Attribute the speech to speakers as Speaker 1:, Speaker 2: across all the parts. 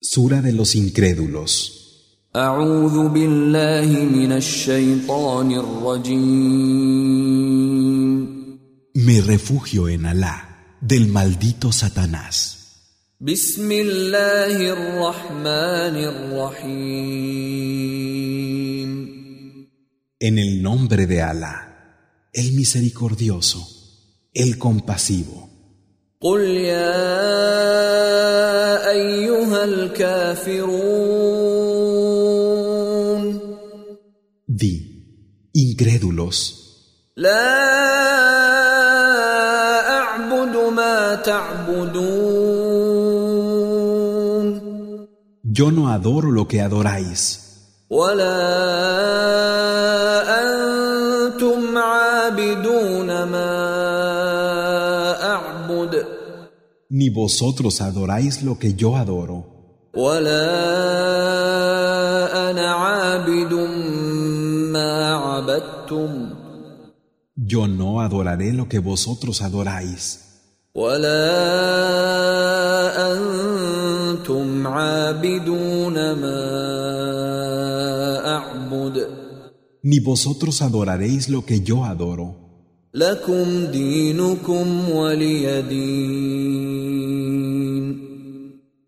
Speaker 1: Sura de los incrédulos.
Speaker 2: أعوذ بالله من الشيطان الرجيم
Speaker 1: Me refugio en Alá, del maldito Satanás.
Speaker 2: بسم الله الرحمن الرحيم
Speaker 1: En el nombre de Alá, el misericordioso, el compasivo.
Speaker 2: قل يا أيها الكافرون
Speaker 1: Di, incrédulos,
Speaker 2: لا أعبد ما تعبدون
Speaker 1: yo no adoro lo que adoráis,
Speaker 2: ولا أنتم عابدون ما أعبد
Speaker 1: ni vosotros adoráis lo que yo adoro,
Speaker 2: ولا أنا عابد ما عبدتم
Speaker 1: yo no adoraré lo que vosotros adoráis,
Speaker 2: ولا أنتم عابدون ما أعبد
Speaker 1: ni vosotros adoraréis lo que yo adoro.
Speaker 2: لكم دينكم ولي دين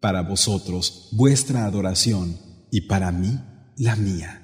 Speaker 1: Para vosotros, vuestra adoración, y para mí, la mía.